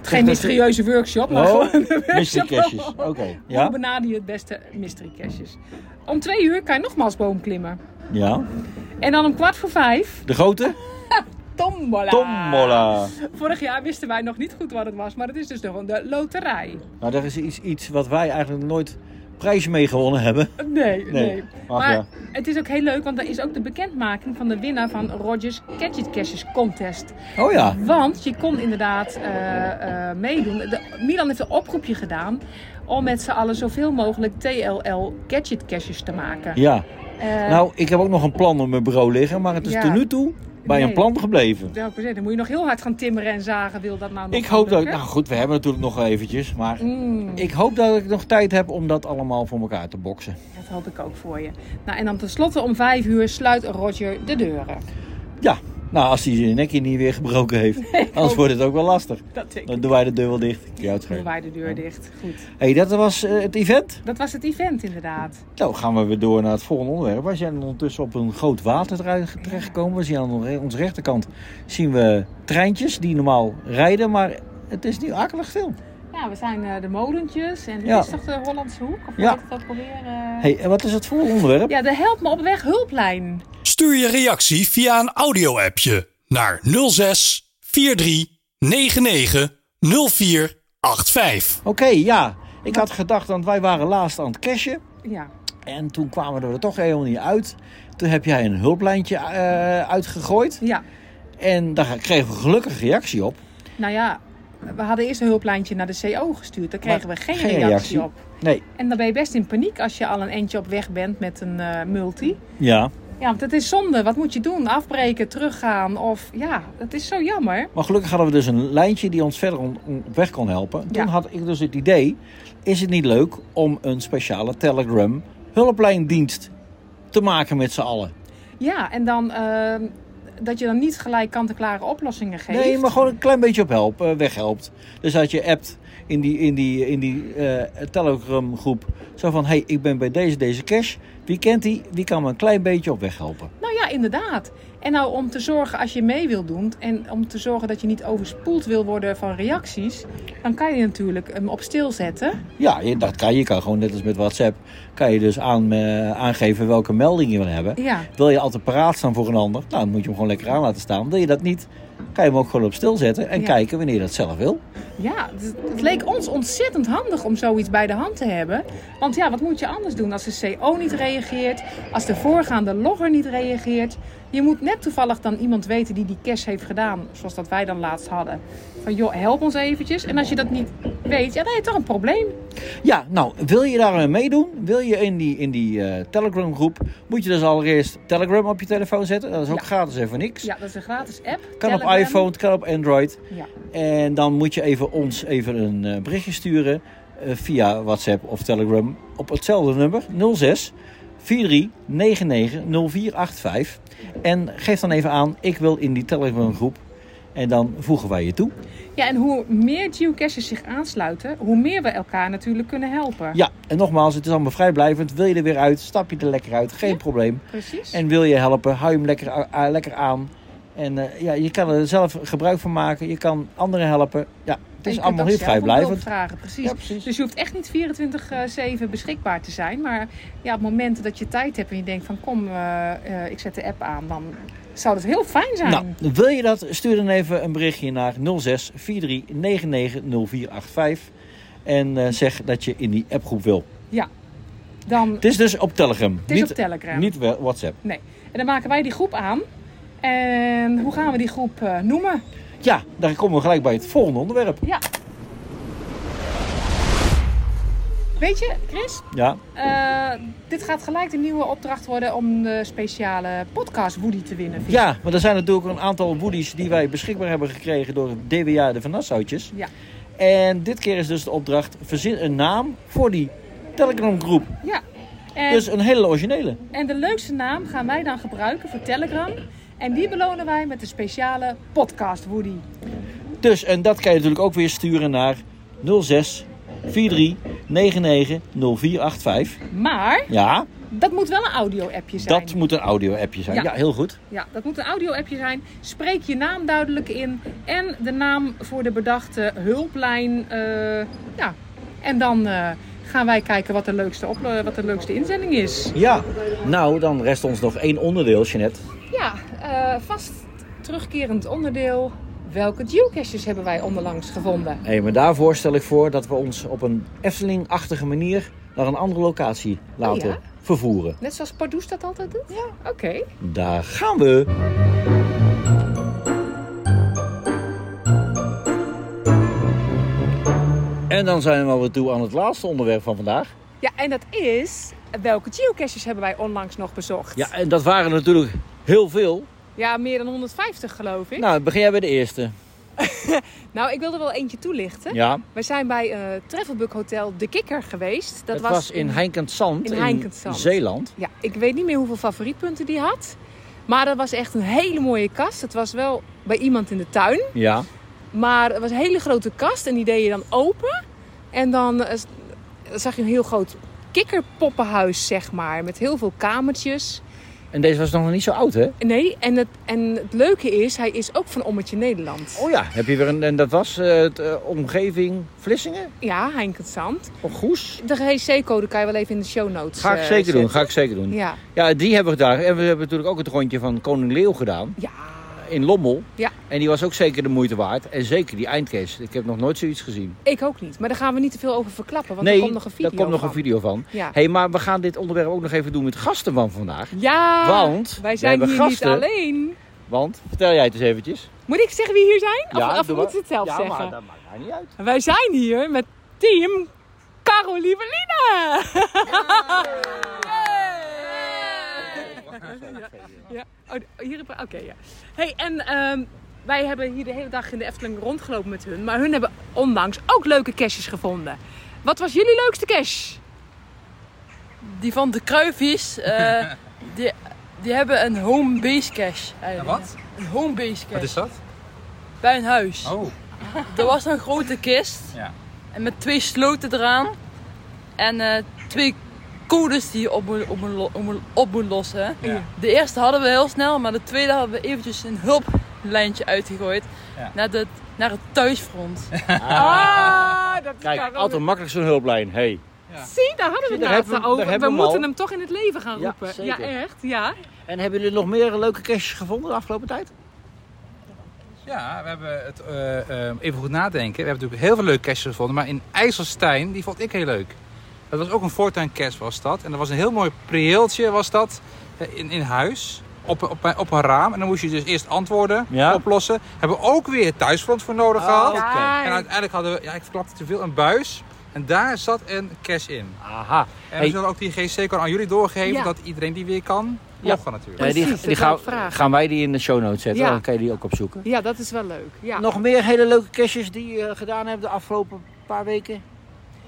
S3: Geen mysterieuze workshop, maar
S2: Oh,
S3: gewoon een
S2: mystery
S3: workshop.
S2: caches. Oké,
S3: Hoe
S2: ja.
S3: benader je het beste mystery caches? Om 2 uur kan je nogmaals boomklimmen.
S2: Ja.
S3: En dan om kwart voor 5
S2: De grote?
S3: Ah. Tombola.
S2: Tombola.
S3: Vorig jaar wisten wij nog niet goed wat het was, maar het is dus gewoon de loterij.
S2: Nou, daar is iets, iets wat wij eigenlijk nooit prijs mee gewonnen hebben.
S3: Nee, nee.
S2: Ach,
S3: maar
S2: ja.
S3: het is ook heel leuk, want er is ook de bekendmaking van de winnaar van Rogers Gadget Caches Contest.
S2: Oh ja.
S3: Want je kon inderdaad eh, eh, meedoen. De, Milan heeft een oproepje gedaan om met z'n allen zoveel mogelijk TLL Gadget Caches te maken.
S2: Ja.
S3: Eh,
S2: nou, ik heb ook nog een plan op mijn bureau liggen, maar het is
S3: Ja.
S2: tot nu toe bij
S3: Nee.
S2: een plan gebleven.
S3: ja, ik wou zeggen, Nou, Dan moet je nog heel hard gaan timmeren en zagen, wil dat nou nog
S2: Ik hoop dat ik,
S3: lukken?
S2: nou goed, we hebben natuurlijk nog eventjes, maar
S3: Mm.
S2: ik hoop dat ik nog tijd heb om dat allemaal voor elkaar te boksen.
S3: Dat hoop ik ook voor je. Nou, en dan tenslotte om vijf uur sluit Roger de deuren.
S2: Ja, nou als hij zijn nekje niet weer gebroken heeft, anders wordt het ook wel lastig.
S3: Dat denk ik.
S2: Dan doen wij de deur wel dicht. Ja, het
S3: Doen
S2: schelen.
S3: wij de deur dicht. Goed.
S2: hey, dat was eh, het event.
S3: Dat was het event inderdaad.
S2: Nou, gaan we weer door naar het volgende onderwerp. Wij zijn ondertussen op een groot waterdraai terechtgekomen. We zien aan onze- onze rechterkant zien we treintjes die normaal rijden, maar het is nu akelig stil.
S3: Ja, we zijn eh, de molentjes en dit
S2: Ja.
S3: is toch de Hollandse Hoek? Of
S2: Ja.
S3: ja. ik het ook alweer? eh?
S2: hey, en wat is het volgende onderwerp?
S3: Ja, de Help Me Op Weg hulplijn.
S1: Stuur je reactie via een audio-appje naar 06 43 99 04 85.
S2: Oké, ja. Ik had gedacht, want wij waren laatst aan het cashen.
S3: Ja.
S2: En toen kwamen we er toch helemaal niet uit. Toen heb jij een hulplijntje eh, uitgegooid.
S3: Ja.
S2: En daar kregen we gelukkig reactie op.
S3: Nou ja, we hadden eerst een hulplijntje naar de CO gestuurd. Daar kregen we geen, reactie, op.
S2: Nee.
S3: En dan ben je best in paniek als je al een eentje op weg bent met een eh, multi.
S2: Ja.
S3: Ja, want het is zonde. Wat moet je doen? Afbreken, teruggaan of... Ja, dat is zo jammer.
S2: Maar gelukkig hadden we dus een lijntje die ons verder on- on- op weg kon helpen. Toen had ik dus het idee, is het niet leuk om een speciale Telegram hulplijndienst te maken met z'n allen?
S3: Ja, en dan ehm, dat je dan niet gelijk kant-en-klare oplossingen geeft.
S2: Nee, maar gewoon een klein beetje op help, eh, weghelpt. Dus dat je appt in die, in die, in die eh, Telegram groep. Zo van, hé, hey, ik ben bij deze, deze cash. Wie kent die? Die kan me een klein beetje op weg helpen.
S3: Nou ja, inderdaad. En nou om te zorgen als je mee wil doen en om te zorgen dat je niet overspoeld wil worden van reacties, dan kan je natuurlijk hem op stil zetten.
S2: Ja, je, dat kan, je kan gewoon net als met WhatsApp. Kan je dus aan, eh, aangeven welke melding je wil hebben.
S3: Ja.
S2: Wil je altijd paraat staan voor een ander? Nou, dan moet je hem gewoon lekker aan laten staan. Wil je dat niet? Kan je hem ook gewoon op stil zetten. En
S3: Ja.
S2: kijken wanneer je dat zelf wil.
S3: Ja, het, het leek ons ontzettend handig om zoiets bij de hand te hebben. Want ja, wat moet je anders doen als de CO niet reageert, als de voorgaande logger niet reageert? Je moet net toevallig dan iemand weten die die cash heeft gedaan, zoals dat wij dan laatst hadden. Van joh, help ons eventjes. En als je dat niet weet, ja, dan heb je toch een probleem.
S2: Ja, nou, wil je daar aan meedoen? Wil je in die, in die eh, Telegram groep? Moet je dus allereerst Telegram op je telefoon zetten. Dat is ook
S3: Ja.
S2: gratis en voor niks.
S3: Ja, dat is een gratis app.
S2: Kan op
S3: Telegram.
S2: iPhone, het kan op Android.
S3: Ja.
S2: En dan moet je even ons even een eh, berichtje sturen eh, via WhatsApp of Telegram op hetzelfde nummer 06 43 99 0485. En geef dan even aan, ik wil in die Telegram groep. En dan voegen wij je toe.
S3: Ja, en hoe meer geocaches zich aansluiten, hoe meer we elkaar natuurlijk kunnen helpen.
S2: Ja, en nogmaals, het is allemaal vrijblijvend. Wil je er weer uit, stap je er lekker uit, geen probleem.
S3: Precies.
S2: En wil je helpen, hou je hem lekker, a- a- lekker aan. En eh, ja, je kan er zelf gebruik van maken, je kan anderen helpen. Ja, het
S3: En
S2: is
S3: je kunt
S2: allemaal
S3: ook
S2: heel
S3: zelf om hulp
S2: vrijblijvend.
S3: vragen, precies. Dus je hoeft echt niet 24-7 beschikbaar te zijn. Maar ja, op momenten dat je tijd hebt en je denkt van kom, eh, eh, ik zet de app aan, dan zou dat heel fijn zijn.
S2: Nou, wil je dat? Stuur dan even een berichtje naar 06 43 99 0485. En eh, zeg dat je in die appgroep wil.
S3: Ja, dan,
S2: Het is dus op Telegram.
S3: Het is
S2: niet,
S3: op Telegram.
S2: Niet wel- WhatsApp.
S3: nee. En dan maken wij die groep aan. En hoe gaan we die groep eh, noemen?
S2: Ja, dan komen we gelijk bij het volgende onderwerp.
S3: Ja. Weet je, Chris,
S2: Ja,
S3: eh, dit gaat gelijk een nieuwe opdracht worden om de speciale podcast Woody te winnen. vind ik.
S2: Ja, maar er zijn natuurlijk een aantal woodies die wij beschikbaar hebben gekregen door het DWA de Van Nassautjes.
S3: Ja.
S2: En dit keer is dus de opdracht, verzin een naam voor die Telegram groep.
S3: Ja. En,
S2: Dus een hele originele.
S3: en de leukste naam gaan wij dan gebruiken voor Telegram. En die belonen wij met de speciale podcast Woody.
S2: Dus, en dat kan je natuurlijk ook weer sturen naar 06 43 99 0485.
S3: Maar
S2: Ja,
S3: dat moet wel een audio-appje zijn.
S2: dat moet een audio-appje zijn. Ja.
S3: Ja.
S2: heel goed.
S3: Ja, dat moet een audio-appje zijn. Spreek je naam duidelijk in en de naam voor de bedachte hulplijn. eh, ja. En dan eh, gaan wij kijken wat de, leukste op, eh, wat de leukste inzending is.
S2: Ja, nou, dan rest ons nog één onderdeel, Jeanette.
S3: Ja, eh, vast terugkerend onderdeel. Welke geocaches hebben wij onderlangs gevonden?
S2: Hé, maar daarvoor stel ik voor dat we ons op een Efteling-achtige manier naar een andere locatie laten
S3: ja?
S2: vervoeren.
S3: Net zoals Pardoes dat altijd doet? Ja. Oké.
S2: Daar gaan we. En dan zijn we alweer toe aan het laatste onderwerp van vandaag.
S3: Ja, en dat is... Welke geocaches hebben wij onlangs nog bezocht?
S2: Ja, en dat waren natuurlijk heel veel.
S3: Ja, meer dan 150 geloof ik.
S2: Nou, begin jij bij de eerste.
S3: Nou, ik wil er wel eentje toelichten.
S2: Ja.
S3: We zijn bij eh Travelbug Hotel De Kikker geweest. Dat
S2: het was, in Heinkensand,
S3: in Heinkensand.
S2: Zeeland.
S3: Ja, ik weet niet meer hoeveel favorietpunten die had. Maar dat was echt een hele mooie kast. Het was wel bij iemand in de tuin.
S2: Ja.
S3: Maar het was een hele grote kast en die deed je dan open. En dan eh, s- zag je een heel groot kikkerpoppenhuis, zeg maar. Met heel veel kamertjes.
S2: En deze was nog niet zo oud, hè?
S3: Nee, en het, en het leuke is, hij is ook van Ommetje Nederland.
S2: Oh ja, heb je weer een... En dat was eh, het, eh, omgeving Vlissingen?
S3: Ja, Heinkensand.
S2: Of Goes?
S3: De GC-code kan je wel even in de show notes
S2: Ga ik
S3: eh,
S2: zeker doen,
S3: zetten.
S2: ga ik zeker doen.
S3: Ja.
S2: Ja, die hebben we daar. En we hebben natuurlijk ook het rondje van Koning Leeuw gedaan.
S3: Ja.
S2: In Lommel.
S3: Ja,
S2: En die was ook zeker de moeite waard. En zeker die eindcase. Ik heb nog nooit zoiets gezien.
S3: ik ook niet. Maar daar gaan we niet te veel over verklappen, want
S2: nee,
S3: er komt nog een video
S2: daar komt nog
S3: van.
S2: een video van.
S3: Ja.
S2: hey, maar we gaan dit onderwerp ook nog even doen met gasten van vandaag.
S3: Ja,
S2: Want
S3: wij
S2: we
S3: zijn
S2: hebben
S3: hier
S2: gasten.
S3: niet alleen.
S2: Want, vertel jij het eens eventjes.
S3: Moet ik zeggen wie hier zijn? Of,
S2: Ja,
S3: of
S2: doe
S3: moet
S2: maar.
S3: ze het zelf
S2: Ja, maar
S3: zeggen?
S2: dat maakt mij niet uit.
S3: Wij zijn hier met team Caroline Berlina. Ja. Oh, hier heb ik- Oké, ja. Hey, en ehm, wij hebben hier de hele dag in de Efteling rondgelopen met hun. Maar hun hebben onlangs ook leuke caches gevonden. Wat was jullie leukste cache?
S14: Die van de Kruivies, eh, die, die hebben een home base cache. eigenlijk.
S9: Een wat?
S14: Een home base cache.
S9: Wat is dat?
S14: Bij een huis.
S9: Oh.
S14: Er was een grote kist
S9: Ja.
S14: en met twee sloten eraan. En eh, twee codes die je op moet, op moet, lo- op moet- op moet lossen.
S9: Ja.
S14: De eerste hadden we heel snel, maar de tweede hadden we eventjes een hulplijntje uitgegooid.
S9: Ja.
S14: Naar, de, naar het thuisfront.
S2: Ah,
S3: dat
S2: Kijk, altijd makkelijk zo'n hulplijn. Hey.
S3: Zie, daar hadden we
S2: Zie,
S3: het
S2: daar
S3: laatst
S2: hebben we-
S3: over.
S2: daar
S3: we
S2: hebben we hem al.
S3: moeten hem toch in het leven gaan
S2: Ja,
S3: roepen. Ja,
S2: zeker.
S3: echt. Ja.
S2: En hebben jullie nog meer leuke caches gevonden de afgelopen tijd?
S9: Ja, we hebben het eh, eh, even goed nadenken. We hebben natuurlijk heel veel leuke caches gevonden, maar in IJsselstein, die vond ik heel leuk. Dat was ook een voortuincache was dat. En dat was een heel mooi prieeltje was dat, eh, in, in huis, op, op, op een raam. En dan moest je dus eerst antwoorden, oplossen. Hebben we ook weer het thuisfront voor nodig
S15: Oh,
S9: gehad.
S15: oké.
S9: En uiteindelijk hadden we, ja ik verklapte te veel, een buis. En daar zat een cash in.
S2: Aha.
S9: En we
S2: Hey.
S9: zullen ook die GC-code aan jullie doorgeven,
S2: Ja.
S9: dat iedereen die weer kan, loggen natuurlijk.
S2: Eh, die die gaan, gaan wij die in de show notes zetten.
S3: Ja.
S2: Dan kan je die ook opzoeken.
S3: Ja, dat is wel leuk. Ja.
S2: Nog meer hele leuke caches die je gedaan hebt de afgelopen paar weken?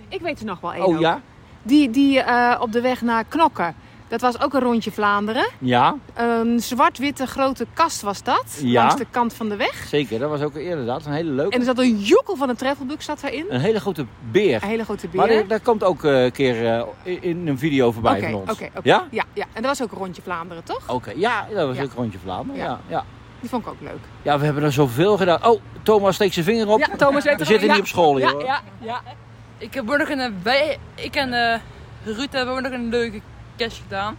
S3: Ik weet er nog wel één.
S2: Oh
S3: ook.
S2: ja?
S3: Die, die eh, op de weg naar Knokken. Dat was ook een rondje Vlaanderen.
S2: Ja,
S3: Een zwart-witte grote kast was dat.
S2: Ja.
S3: Langs de kant van de weg.
S2: zeker. Dat was ook eerder dat. Een hele leuke.
S3: En er zat een joekel van een travelbug zat daarin.
S2: Een hele grote beer.
S3: Een hele grote beer.
S2: Maar daar, daar komt ook eh, een keer eh, in- in een video voorbij
S3: Oké,
S2: van ons.
S3: oké, oké.
S2: Ja? Oh.
S3: ja? Ja, en dat was ook een rondje Vlaanderen, toch?
S2: Oké, ja, dat was
S3: Ja.
S2: ook Rondje Vlaanderen.
S3: Ja.
S2: Ja. Ja.
S3: Die vond ik ook leuk.
S2: ja, we hebben er zoveel gedaan. Oh, Thomas steekt zijn vinger op.
S14: Ja, Thomas weet
S2: We
S14: er
S2: zitten
S14: al-
S2: niet op school
S14: ja,
S2: joh.
S14: Ja, ja. Ik heb ook nog een, wij, ik en eh Ruud hebben ook nog een leuke cash gedaan.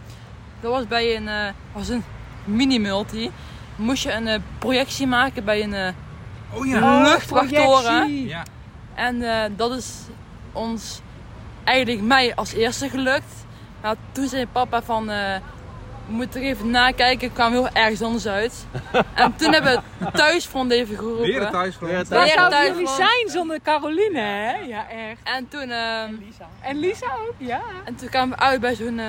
S14: Dat was bij een, eh, was een mini-multi. Moest je een eh, projectie maken bij een eh,
S9: oh,
S14: ja. luchtwachttoren.
S9: Ja.
S14: En eh, dat is ons, eigenlijk mij als eerste gelukt. Maar toen zei papa van, eh we moeten er even nakijken, kwamen we heel ergens anders uit. en toen hebben we thuisfront even geroepen.
S9: Weer een thuisfront. Weer een
S14: Weer een
S9: thuisfront.
S14: thuisfront.
S3: Jullie zijn zonder Caroline, hè? Ja, echt.
S14: En toen... en Lisa.
S3: En Lisa ook, ja.
S14: En toen kwamen we uit bij zo'n... eh,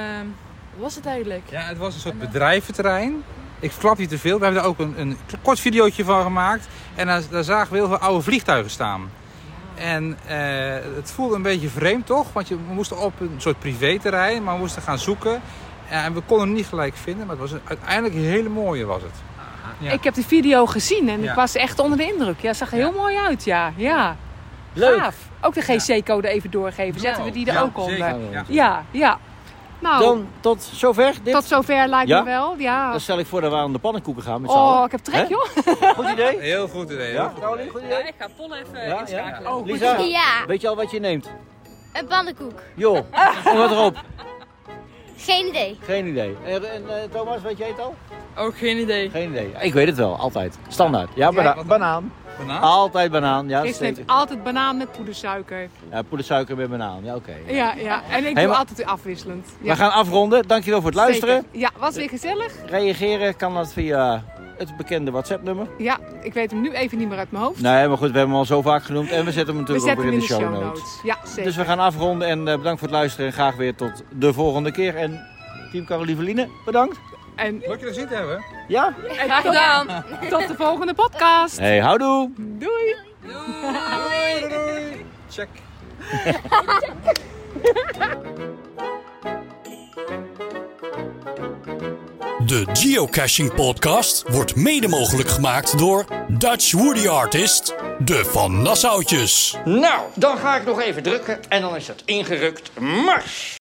S14: wat was het eigenlijk?
S9: Ja, het was een soort bedrijventerrein. Ik flap niet te veel. We hebben daar ook een, een kort videootje van gemaakt. En daar, daar zagen we heel veel oude vliegtuigen staan. En eh, het voelde een beetje vreemd toch? Want je, we moesten op een soort privéterrein, maar we moesten gaan zoeken. En we konden hem niet gelijk vinden, maar het was een, uiteindelijk een hele mooie was het. Ja.
S3: Ik heb die video gezien en
S9: Ja.
S3: ik was echt onder de indruk. Ja, het zag er heel mooi uit, ja. ja.
S2: Leuk. Nou,
S3: Gaaf. Ook de GC-code even doorgeven. Zetten we die er
S2: Ja,
S3: ook onder.
S2: zeker, ja.
S3: Ja, ja. Nou,
S2: Dan tot zover. Dit.
S3: tot zover lijkt
S2: Ja?
S3: me wel. Ja.
S2: Dan stel ik voor dat we aan de pannenkoeken gaan met z'n
S3: Oh,
S2: allen.
S3: ik heb
S2: Hè?
S3: trek, joh.
S2: Goed idee.
S9: Heel goed idee.
S2: Ja?
S14: Ja, ik ga Pol even eh, inschakelen.
S2: Oh,
S14: goed
S2: Lisa,
S14: zo.
S11: Ja.
S2: weet je al wat je neemt?
S11: Een pannenkoek.
S2: Joh, kom wat erop.
S11: Geen idee.
S2: Geen idee. En, en, eh, Thomas, weet jij het al?
S14: Ook geen idee.
S2: Geen idee. Ik weet het wel, altijd. Standaard. Ja, bana-
S3: wat dan?
S2: banaan.
S9: Banaan?
S2: Altijd banaan, ja.
S3: Chris neemt
S2: zeker.
S3: altijd banaan met poedersuiker.
S2: Ja, poedersuiker met banaan, ja oké.
S3: Ja, ja. En ik
S2: Hey,
S3: doe
S2: maar-
S3: altijd afwisselend. Ja.
S2: We gaan afronden. Dankjewel voor het luisteren.
S3: Zeker. Ja, was weer gezellig.
S2: Reageren kan dat via het bekende WhatsApp-nummer.
S3: Ja, ik weet hem nu even niet meer uit mijn hoofd.
S2: Nee, maar goed, we hebben hem al zo vaak genoemd. En Nou, we zetten hem
S3: We
S2: natuurlijk
S3: zetten
S2: ook
S3: hem
S2: weer in
S3: in de
S2: show
S3: show
S2: notes.
S3: notes. Ja, zeker.
S2: Dus we gaan afronden en eh, bedankt voor het luisteren. En graag weer tot de volgende keer. En team Carolieveline, bedankt.
S3: En...
S9: Leuk je gezien te hebben.
S2: Ja?
S3: En
S14: Graag
S3: tot-
S14: gedaan.
S3: Tot de volgende podcast.
S2: Hey, houdoe!
S3: Doei.
S14: Doei.
S9: Doei. Check.
S1: De Geocaching Podcast wordt mede mogelijk gemaakt door Dutch Woody Artist, de Van Nassautjes.
S15: Nou, dan ga ik nog even drukken en dan is dat ingerukt. Mars!